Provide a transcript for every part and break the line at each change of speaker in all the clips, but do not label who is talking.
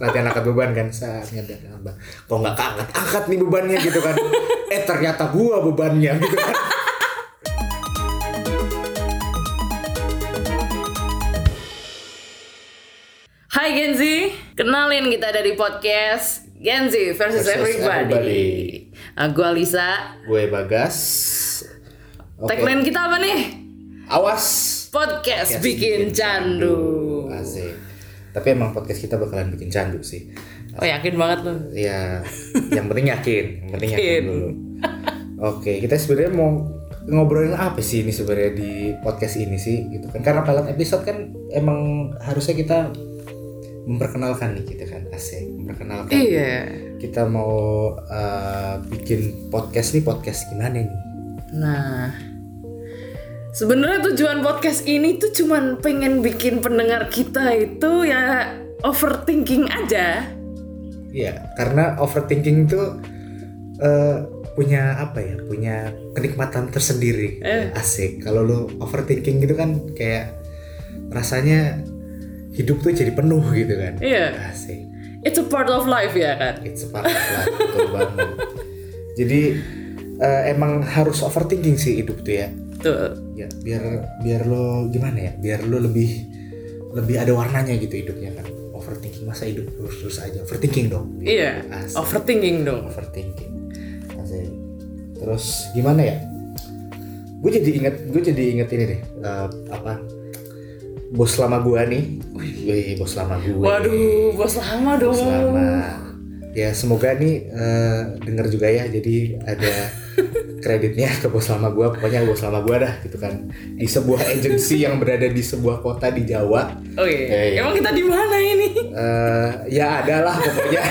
nanti anak angkat beban kan saatnya datang kok nggak keangkat angkat nih bebannya gitu kan eh ternyata gua bebannya gitu kan
Hai Gen Z, kenalin kita dari podcast Gen Z versus,
Versus
Everybody.
Everybody.
Nah, gue Alisa.
gue bagas Oke.
Tagline kita apa nih?
awas
Podcast
Podcast
bikin candu.
asik tapi emang podcast kita bakalan bikin candu sih
Oh yakin banget lu.
ya yang penting yakin yang penting yakin
Yakin.
dulu oke kita sebenarnya mau ngobrolin apa sih ini sebenarnya di podcast ini sih gitu kan karena pilot episode kan emang harusnya kita memperkenalkan nih gitu kan asik memperkenalkan
Iya.
kita mau eh, bikin podcast nih podcast gimana nih
Nah, sebenarnya tujuan podcast ini tuh cuman pengen bikin pendengar kita itu ya overthinking aja.
Iya, karena overthinking itu eh, punya apa ya? Punya kenikmatan tersendiri.
Eh.
Asik. Kalau lu overthinking gitu kan kayak rasanya hidup tuh jadi penuh gitu kan.
Iya.
Asik.
It's a part of life ya kan.
It's a part of life, betul banget. Jadi eh, emang harus overthinking sih hidup tuh ya.
Tuh.
Ya, biar biar lo gimana ya? Biar lo lebih lebih ada warnanya gitu hidupnya kan. Overthinking masa hidup terus-terus aja. Overthinking dong.
Iya.
Asik.
Overthinking dong.
overthinking Asik. terus gimana ya gue jadi inget gue jadi inget ini deh eh, apa bos lama gua nih Wih, bos lama gue
Waduh, bos lama dong.
bos lama ya semoga nih eh, denger juga ya jadi ada kreditnya ke bos lama gua pokoknya bos lama gua dah gitu kan di sebuah agensi yang berada di sebuah kota di Jawa
Oh iya.
Iya, iya.
Emang kita di mana ini?
Eh, ya adalah pokoknya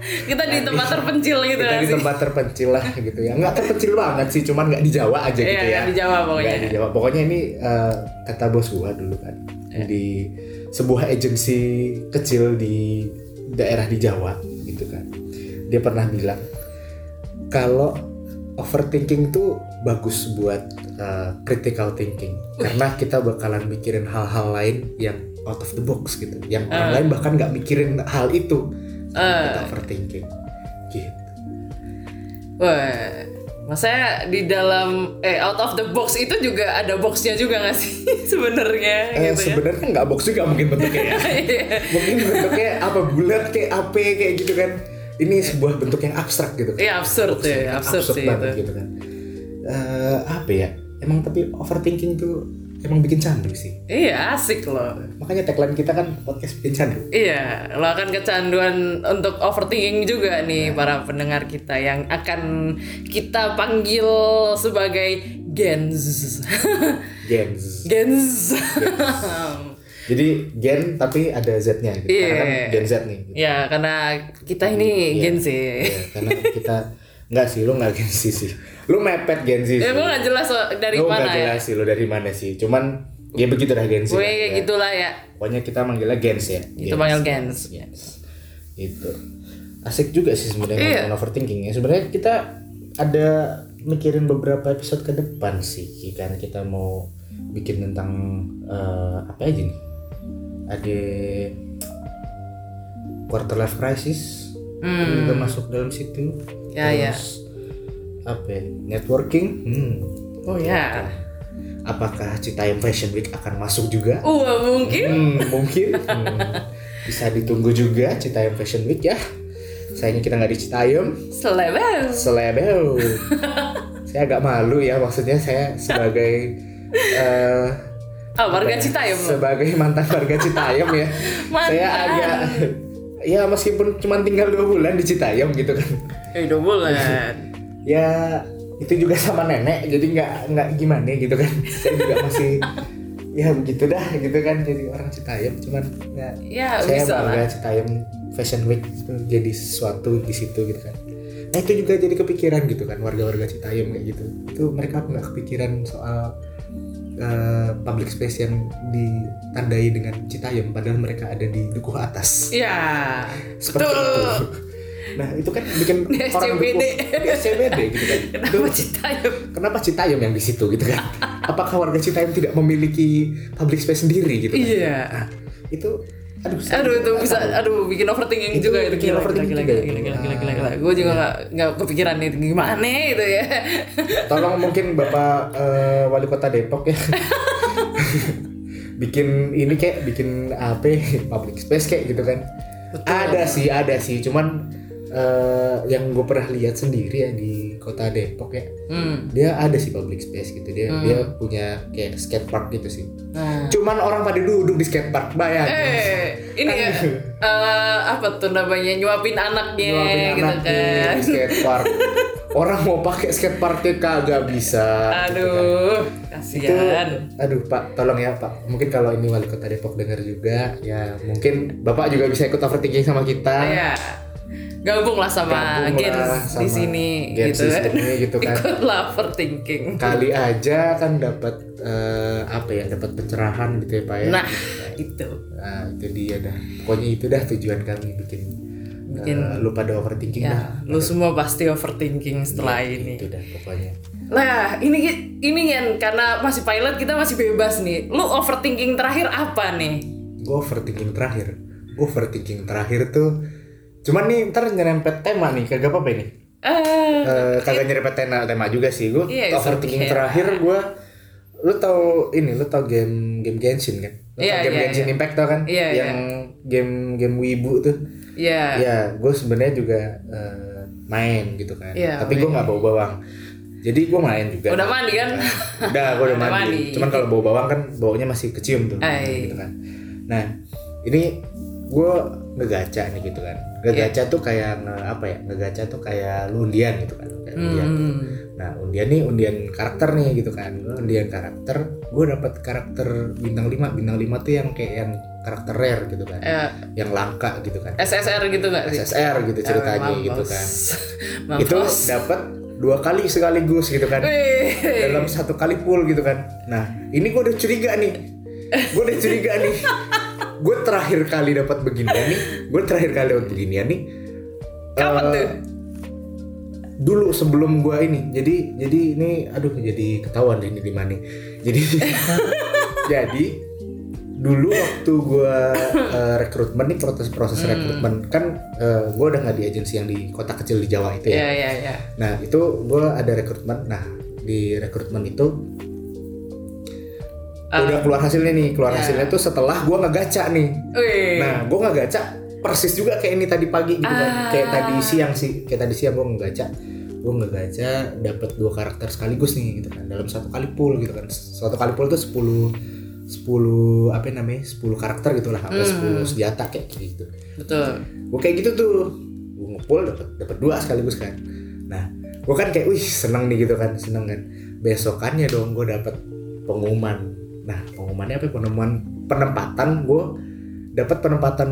Kita di tempat terpencil gitu
kita
kan
di
sih.
tempat terpencil lah gitu ya nggak terpencil banget sih cuman nggak di Jawa aja
Iya,
gitu ya
nggak di Jawa pokoknya.
Nggak di Jawa pokoknya ini eh, kata bos gua dulu kan
Iya.
di sebuah agensi kecil di daerah di Jawa gitu kan dia pernah bilang kalau overthinking tuh bagus buat eh, critical thinking karena kita bakalan mikirin hal-hal lain yang out of the box gitu yang orang lain bahkan nggak mikirin hal itu
Eh.
kita overthinking gitu
Wah. Maksudnya di dalam eh out of the box itu juga ada boxnya juga nggak sih sebenarnya
Eh,
gitu ya?
sebenarnya nggak box juga mungkin bentuknya ya. mungkin bentuknya apa bulat kayak AP kayak gitu kan. Ini sebuah bentuk yang abstrak gitu kan.
Iya absurd
Absurd,
ya, absurd, sih itu.
banget gitu kan. Eh, apa ya? Emang tapi overthinking tuh emang bikin candu sih.
Iya asik loh.
Makanya tagline kita kan podcast bikin candu.
Iya, lo akan kecanduan untuk overthinking juga nih para pendengar kita yang akan kita panggil sebagai gens.
Gens.
gens.
Jadi gen tapi ada Z-nya gitu. Karena kan
Iya.
gen Z nih.
ya, karena kita ini
Iya.
gen Z.
Iya, karena kita nggak sih, lu nggak gen Z sih. Lu mepet gen Z. sih.
Ya gue gak jelas so- dari
Lu Iya.
mana
nggak
ya.
jelas sih lo dari mana sih. Cuman ya begitu dah Gens.
Gue
lah,
kayak
ya.
gitulah ya.
Pokoknya kita manggilnya Gens ya.
Itu panggil gens.
Gens. Itu. Asik juga sih sebenarnya
Iya.
ngomongin overthinking ya. Sebenarnya kita ada mikirin beberapa episode ke depan sih kan kita mau bikin tentang eh, apa aja nih. Ada quarter life crisis
Hmm.
juga masuk dalam situ.
Ya, ya.
Terus apa ya? Networking. Hmm
Oh ya.
apakah Citayam Fashion Week akan masuk juga?
Wah Uh, mungkin.
Hmm, mungkin Hmm. bisa ditunggu juga Citayam Fashion Week ya. Sayangnya kita nggak di Citayam,
Selebel.
selebel. saya agak malu ya maksudnya saya sebagai eh,
Ah, warga Citayam lo.
sebagai mantan warga Citayam ya. Saya
Mantan.
agak ya meskipun cuma tinggal dua bulan di Citayam gitu kan.
Eh, udah bulan.
Ya itu juga sama nenek jadi nggak nggak gimana gitu kan. Saya juga masih ya begitu dah gitu kan jadi orang Citayam cuman ya
Ya,
saya
bisa
bangga
lah.
Citayam Fashion Week itu jadi sesuatu di situ gitu kan nah itu juga jadi kepikiran gitu kan warga-warga Citayam kayak gitu itu mereka nggak kepikiran soal eh, public space yang ditandai dengan Citayam padahal mereka ada di dukuh atas
Ya.
seperti
Betul.
itu nah itu kan bikin
Di
orang
SCBD.
dukuh di SCBD gitu kan Itu
Kenapa ya, Citayam?
kenapa Citayam yang di situ gitu kan apakah warga Citayam tidak memiliki public space sendiri gitu kan
Iya.
itu Aduh,
Aduh itu bisa, aduh bikin overthinking
Itu
juga
bikin overthinking
gila,
juga ya? Ah. itu.
gila, gila, gila, gila, gila, gila. Gue juga nggak nggak kepikiran nih gimana gitu ya.
Tolong mungkin Bapak eh, Wali Kota Depok ya. bikin ini kayak bikin apa public space kayak gitu kan. Ada sih, ada sih. Cuman eh, yang gue pernah lihat sendiri ya di Kota Depok ya.
Hmm.
Dia ada sih public space gitu. Dia dia punya kayak skatepark gitu sih.
Nah.
Cuman orang pada duduk di skatepark, bayangin.
Eh, ini ya,
Kan gitu.
eh, apa tuh namanya nyuapin anaknya
Nyuapin
gitu
anak
kan.
di skatepark. orang mau pakai skateparknya kagak bisa. gitu kan.
Aduh,
itu kan
kasihan.
aduh pak tolong ya pak mungkin kalau ini wali kota Depok dengar juga ya mungkin bapak juga bisa ikut overthinking sama kita
Ya. Gabunglah sama
Gabunglah
Gens
sama
di sini
Gens
gitu
di
kan.
sini gitu kan.
Ikutlah overthinking.
kali aja kan dapat eh, apa ya dapat pencerahan gitu ya pak ya
Nah, itu.
Nah, itu dia dah pokoknya itu dah tujuan kami bikin
Bikin-
eh, lu pada overthinking dah
Ya, lu semua pasti overthinking setelah ini.
itu dah pokoknya
Nah, ini ini kan karena masih pilot kita masih bebas nih. Lu overthinking terakhir apa nih?
gue overthinking terakhir gue overthinking terakhir tuh cuman nih ntar nyerempet tema nih kagak apa-apa nih
Eh,
Eh, kagak nyerempet tema, tema juga sih gue
Iya, it's
overthinking
okay.
terakhir gue lu tau ini lu tau game game Genshin kan lu
Iya,
tau game
iya,
Genshin
iya.
Impact tau kan
Iya,
yang game game Wibu tuh
ya.
ya gue sebenarnya juga eh, main gitu kan
Iya,
tapi gue nggak bawa bawang jadi gue main juga
Udah mandi kan?
udah gue udah
Udah
mandi.
mandi.
cuman kalau bau bawang kan baunya masih kecium tuh
Ay.
gitu kan nah ini gue ngegaca nih gitu kan ngegaca
Iya.
tuh kayak nge- apa ya ngegaca tuh kayak lu undian gitu kan kayak undian
Hmm.
nah undian nih undian karakter nih gitu kan undian karakter gue dapat karakter bintang 5 bintang 5 tuh yang kayak yang karakter rare gitu kan
Eh,
yang langka gitu kan
SSR gitu nggak sih? Ah,
SSR gitu ceritanya
Mampus.
gitu kan
Mampus.
itu dapat dua kali sekaligus gitu kan
Wih.
dalam satu kali pool gitu kan nah ini gue udah curiga nih gue udah curiga nih gue terakhir kali dapat beginian nih gue terakhir kali dapat beginian nih eh,
Kapan tuh?
dulu sebelum gue ini jadi jadi ini aduh jadi ketahuan deh ini di mana jadi jadi dulu waktu gue rekrutmen nih proses proses
Hmm.
rekrutmen kan gue udah nggak di agensi yang di kota kecil di Jawa itu ya
Ya ya ya.
Nah itu gue ada rekrutmen. Nah di rekrutmen itu
Ah.
udah keluar hasilnya nih. Keluar
Ya.
hasilnya tuh setelah gue ngegaca nih.
Wih.
Nah gue ngegaca persis juga kayak ini tadi pagi gitu kan.
Ah.
Kayak tadi siang sih. Kayak tadi siang gue ngegaca. Gue ngegaca dapat dua karakter sekaligus nih gitu kan. Dalam satu kali pool gitu kan. Satu kali pool tuh 10 10 apa namanya 10 karakter gitulah apa
Hmm.
10 senjata kayak gitu
Betul.
gue kayak gitu tuh gue ngepul dapat dapat dua sekaligus kan nah gue kan kayak wih seneng nih gitu kan seneng kan besokannya dong gue dapat pengumuman nah pengumumannya apa ya? penemuan penempatan gue dapat penempatan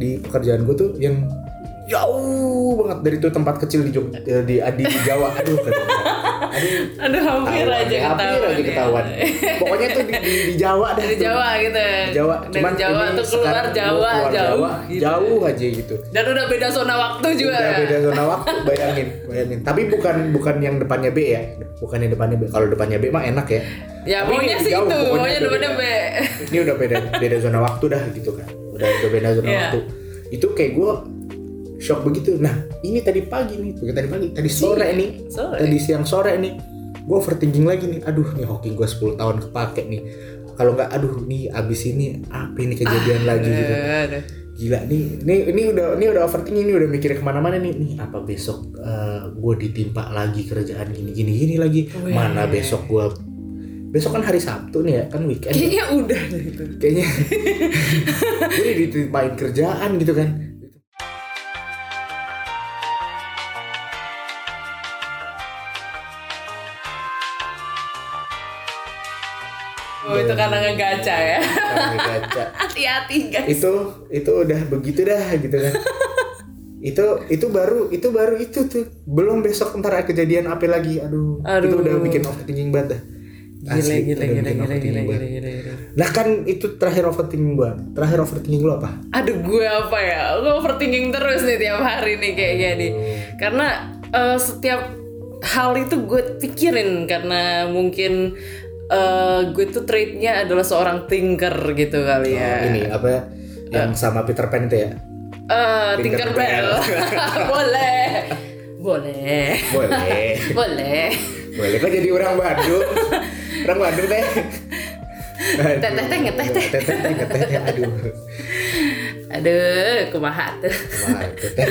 di pekerjaan gue tuh yang jauh banget dari tuh tempat kecil di Jog eh, di, di, di Jawa aduh kata gua. aduh
Aduh hampir
ketahuan
aja
deh, hampir
ketahuan.
aja
ya.
ketahuan pokoknya tuh di, di, di Jawa dah
Dari
tuh.
Jawa gitu.
Di Jawa
Dari
cuman
Jawa
ini
tuh keluar
sekarang gua
Jawa
keluar
jauh.
Jawa,
gitu.
jauh aja gitu
Dan udah beda zona waktu juga.
Udah beda zona waktu, bayangin, bayangin. Tapi bukan bukan yang depannya B ya, bukan yang depannya B. Kalau depannya B mah enak ya.
Ya
Tapi
maunya
ini
sih
jauh,
itu,
pokoknya
maunya
udah
depannya B.
beda. Ini udah beda beda zona waktu dah gitu kan. Udah udah beda zona
Iya.
waktu. Itu kayak gue shock begitu. Nah ini tadi pagi nih, bukan tadi pagi, tadi sore nih,
sore.
tadi siang sore nih. Gue overthinking lagi nih. Aduh nih hoki gue 10 tahun kepake nih. Kalau nggak, aduh nih abis ini apa ini kejadian lagi gitu
Aduh.
gila nih ini ini udah ini udah overthinking ini udah mikir kemana-mana nih nih apa besok gue ditimpa lagi kerjaan gini gini gini lagi
Weh.
mana besok gue besok kan hari Sabtu nih ya kan weekend
Kayaknya udah deh itu.
kayaknya gue ditimpain kerjaan gitu kan
Oh, itu karena ngegaca ya.
Karena gaca.
Hati-hati guys.
itu itu udah begitu dah gitu kan itu itu baru itu baru itu tuh belum besok ntar kejadian apa lagi aduh, itu
Aduh.
udah bikin overthinking banget dah
Gila
Asli,
gila
udah
gila
bikin
gila
overthinking
gila
banget.
gila gila. gila.
Nah kan itu terakhir overthinking gua. Terakhir overthinking lu apa?
Aduh gue apa ya? Gue overthinking terus nih tiap hari nih kayaknya nih. Karena eh, setiap hal itu gue pikirin karena mungkin
Oh.
eh, gue tuh trade-nya adalah seorang thinker gitu kali ya.
Ini apa? yang sama Peter Pan itu ya
Eh, Tinkerbell.
Tinkerbell.
Boleh. Boleh.
boleh
Boleh.
boleh kok jadi orang Bandung orang Bandung teh
Teh, teh, teh, ngeteh, teh.
Teh, teh, teh, ngeteh, teh. aduh
Aduh, kumaha tuh.
Wah, itu teh.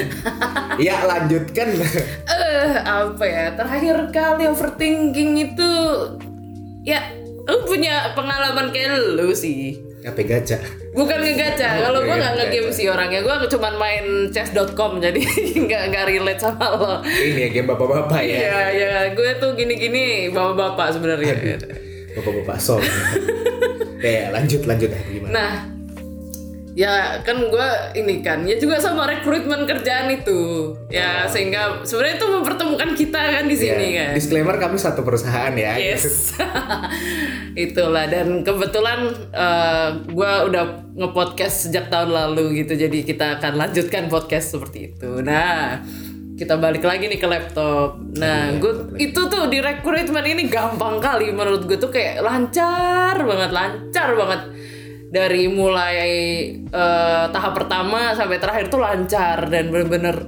Iya lanjutkan
Eh, apa ya? Terakhir kali overthinking itu ya lu punya pengalaman kayak lu sih.
apa gacha
Bukan Oh, iya, ngegaca, kalau gua nggak
Ngegaca.
ngegame sih orangnya, gua cuman main chess.com jadi nggak nggak relate sama lo.
ini ya game bapak-bapak ya
Iya, iya, gue tuh gini-gini bapak-bapak sebenarnya.
bapak-bapak sol ya lanjut lanjut ah, gimana
Nah, ya kan gue ini kan ya juga sama rekrutmen kerjaan itu ya sehingga sebenarnya itu mempertemukan kita kan di sini Iya.
Ya,
kan
disclaimer kami satu perusahaan ya
yes itulah dan kebetulan gue udah ngepodcast sejak tahun lalu gitu jadi kita akan lanjutkan podcast seperti itu nah kita balik lagi nih ke laptop. Nah, gue itu tuh di rekrutmen ini gampang kali menurut gue tuh kayak lancar banget, lancar banget dari mulai eh, tahap pertama sampai terakhir tuh lancar dan bener-bener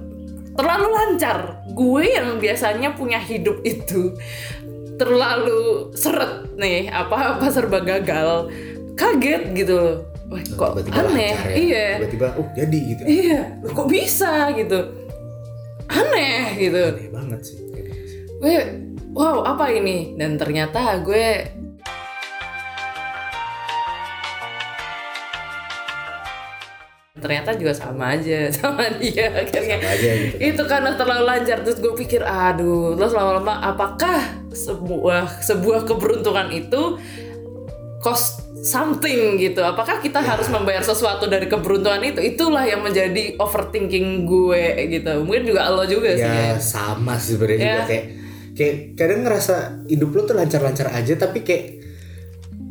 terlalu lancar. Gue yang biasanya punya hidup itu terlalu seret nih, apa-apa serba gagal. Kaget gitu loh. Wah, kok
tiba-tiba
aneh.
lancar ya.
Iya.
tiba-tiba oh jadi gitu
Iya, Loh, kok bisa gitu. Aneh gitu.
aneh banget sih
Iya Gue wow, apa ini? Dan ternyata gue ternyata juga sama aja sama dia akhirnya
Sama aja gitu.
itu karena terlalu lancar terus gue pikir aduh terus lama-lama apakah sebuah sebuah keberuntungan itu cost something gitu apakah kita
Iya.
harus membayar sesuatu dari keberuntungan itu itulah yang menjadi overthinking gue gitu mungkin juga lo juga sih
ya
ya.
sama sih sebenarnya
Ya.
juga kayak kayak kadang ngerasa hidup lo tuh lancar-lancar aja tapi kayak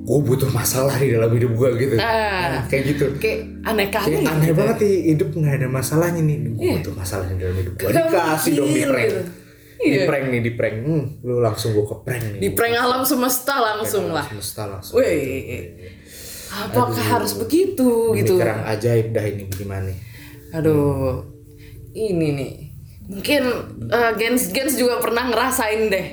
gue butuh masalah di dalam hidup gue gitu
Ah.
kayak gitu
kayak aneh gitu. kali
kayak aneh banget nih hidup nggak ada masalahnya nih gue butuh masalah di dalam hidup gue
Gak
dikasih dong di
mungkin,
prank
gitu.
di
Iya.
prank nih di prank hmm, lu langsung gue ke prank nih
di prank alam semesta langsung lah
Iya. semesta langsung
weh apakah harus begitu
Ini
gitu
kerang ajaib dah ini gimana nih
aduh ini nih mungkin eh, gens gens juga pernah ngerasain deh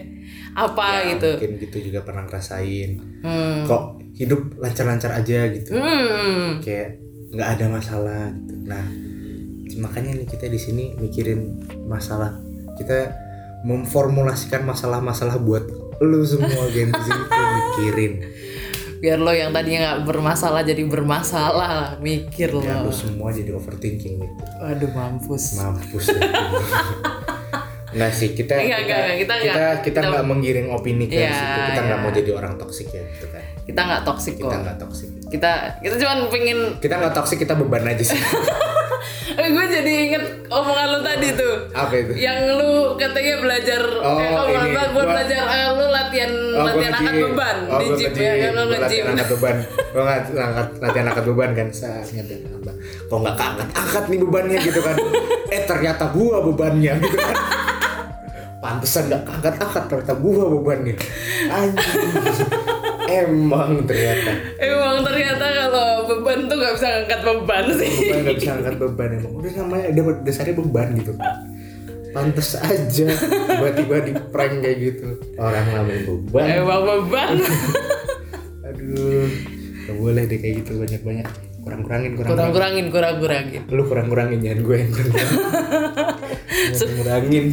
apa gitu
mungkin gitu juga pernah ngerasain
hmm.
kok hidup lancar-lancar aja gitu
Hmm.
kayak nggak ada masalah gitu. Nah, makanya nih kita di sini mikirin masalah. Kita memformulasikan masalah-masalah buat lu semua Gen Z itu mikirin.
biar lo yang tadinya nggak bermasalah jadi bermasalah mikir lo
Ya lu semua jadi overthinking gitu.
aduh mampus
Mampus deh. Nggak sih kita
Nggak,
kita
nggak, kita
kita
nggak.
kita nggak menggiring opini ke
Ya,
situ. Kita nggak
ya.
mau jadi orang toksik ya gitu kan.
kita nggak toksik
Kita
kok
nggak toksik.
kita kita cuman pengen
Kita nggak toksik, kita beban aja sih.
Eh, gue jadi inget omongan lo tadi tuh
Apa itu?
yang lu katanya belajar
Oh,
eh, kok
ini.
bukan, bukan
Gua-
belajar eh, lu latihan
Oh, gua
latihan angkat
nge-gym.
beban
oh,
di
gua
gym
nge-gym.
ya kan lu
Gua
nge-gym
latihan angkat beban gue nggak angkat latihan angkat beban kan saatnya dia nambah kok nggak angkat angkat nih bebannya gitu kan eh ternyata gua bebannya gitu kan pantesan nggak angkat angkat ternyata gua bebannya anjing emang ternyata
emang ternyata kalau beban tuh nggak bisa ngangkat beban sih
beban nggak bisa angkat beban emang udah namanya ada dasarnya beban gitu pantes aja tiba-tiba di prank kayak gitu orang namanya beban
emang beban
Aduh, gak boleh deh kayak gitu banyak-banyak. Kurang-kurangin, kurang,
kurang kurangin kurang kurangin
Lu kurang-kurangin jangan gue yang kurang. kurangin.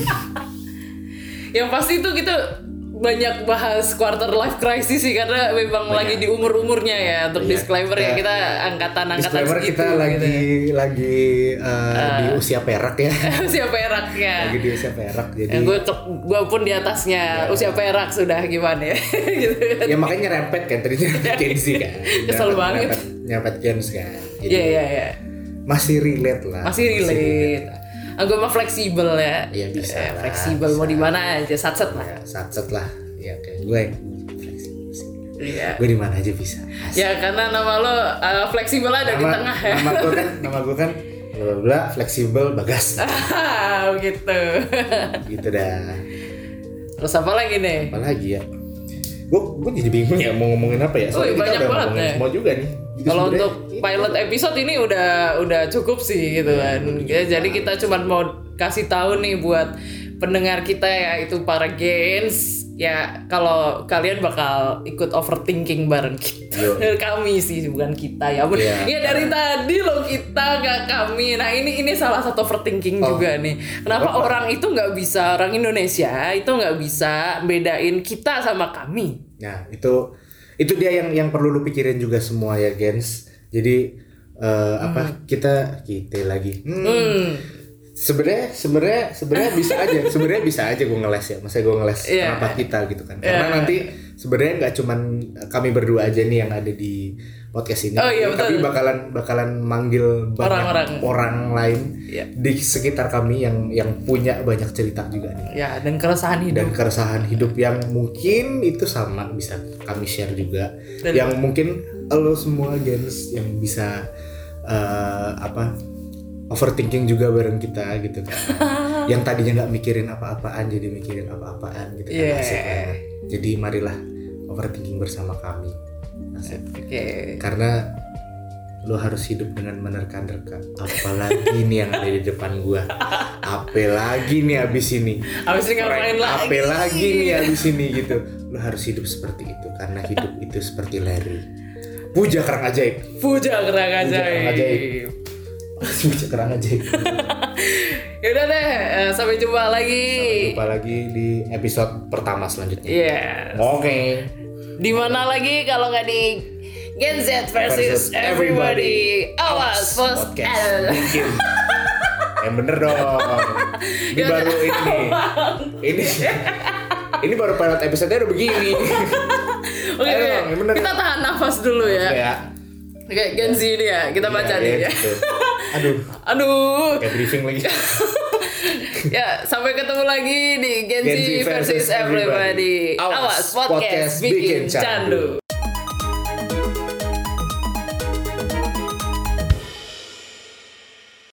yang pasti tuh kita banyak bahas quarter life crisis sih karena memang lagi di umur umurnya ya untuk
Iya.
disclaimer ya
Ya.
kita gitu. angkatan angkatan
Disclaimer kita lagi
ya.
lagi eh, di usia perak ya.
siapa eraknya
Lagi di Iya. usia perak jadi
Eh. Ya, gue gue pun di atasnya usia perak sudah gimana ya gitu
ya makanya nyerempet kan tadi nyerempet Gen Z kan.
Kesel
Nyerempet-
banget.
nyerempet- Nyerempet Gen Z kan. Jadi
ya ya ya
Nah, masih relate lah.
masih relate ah, gue mah fleksibel ya
Iya, bisa
Eh,
lah,
fleksibel mau di mana aja sat sat lah
Ya, Satset lah. Ya kayak gue yang fleksibel sih.
Iya.
Gue di mana aja bisa.
ya karena nama lo eh, fleksibel ada di
nama,
tengah ya
nama gue kan nama gue kan bla bla bla fleksibel bagas
Ah, gitu
gitu dah
terus apa lagi nih
apalagi ya gue gue jadi bingung ya mau ngomongin apa ya soalnya kita
Wih, banyak
udah
banget
ngomongin
ya.
semua juga nih Jadi
Kalau
sebenarnya
untuk
ini-
pilot episode ini udah udah cukup sih
Iya,
gitu kan. Ya, jadi kita cuma mau kasih tahu nih buat pendengar kita ya itu para gens ya kalau kalian bakal ikut overthinking bareng
Yo.
kita kami sih bukan kita ya ampun.
Iya.
ya dari tadi loh kita nggak kami nah ini ini salah satu overthinking
Oh.
juga nih kenapa orang itu nggak bisa orang Indonesia itu nggak bisa bedain kita sama kami
Nah, itu itu dia yang yang perlu lu pikirin juga semua ya, Gens. Jadi eh, apa
Hmm.
kita kita lagi. Hmm.
Oh,
Sebenarnya sebenarnya sebenarnya bisa aja, sebenarnya bisa aja gue ngeles ya. Masa gue ngeles
Iya.
kenapa kita gitu kan. Karena nanti sebenarnya nggak cuman kami berdua aja nih yang ada di podcast ini.
Oh, iya,
tapi
betul.
bakalan bakalan manggil banyak
Orang-orang.
orang lain
Iya.
di sekitar kami yang yang punya banyak cerita juga nih
ya dan keresahan hidup
dan keresahan hidup yang mungkin itu sama bisa kami share juga
Dan-
yang mungkin lo semua gens yang bisa eh, apa overthinking juga bareng kita gitu kan yang tadinya nggak mikirin apa-apaan jadi mikirin apa-apaan gitu kan
Yeah.
Asik banget. jadi marilah overthinking bersama kami Asik.
oke
karena lo harus hidup dengan menerka-nerka apalagi nih yang ada di depan gua apel lagi nih abis ini
Abis ini ngapain
Prank
lagi?
Apa lagi nih abis ini gitu. Lo harus hidup seperti itu karena hidup itu seperti Larry. Puja kerang ajaib.
Puja
Puja
kerang
kerang
ajaib.
ajaib. Puja kerang ajaib.
Yaudah deh, eh, sampai jumpa lagi.
Jumpa lagi di episode pertama
Iya.
selanjutnya.
Yes.
Oke.
Di mana lagi kalau nggak di Gen Z versus
Versus
everybody.
everybody.
Awas eh,
Podcast.
podcast.
Bikin. Yang bener dong. Ini
Ya,
baru ini. Ini ini baru pilot episode-nya udah begini. Ayo
Oke, oke.
dong, yang bener.
kita tahan nafas dulu ya.
Kayak
Oke, Gen Z ini ya, kita baca
ya,
nih
ya,
ya.
gitu. Aduh,
Aduh,
kayak briefing lagi.
ya sampai ketemu lagi di Gen Z
Gen Z
versus
versus everybody.
everybody. Awas podcast bikin candu.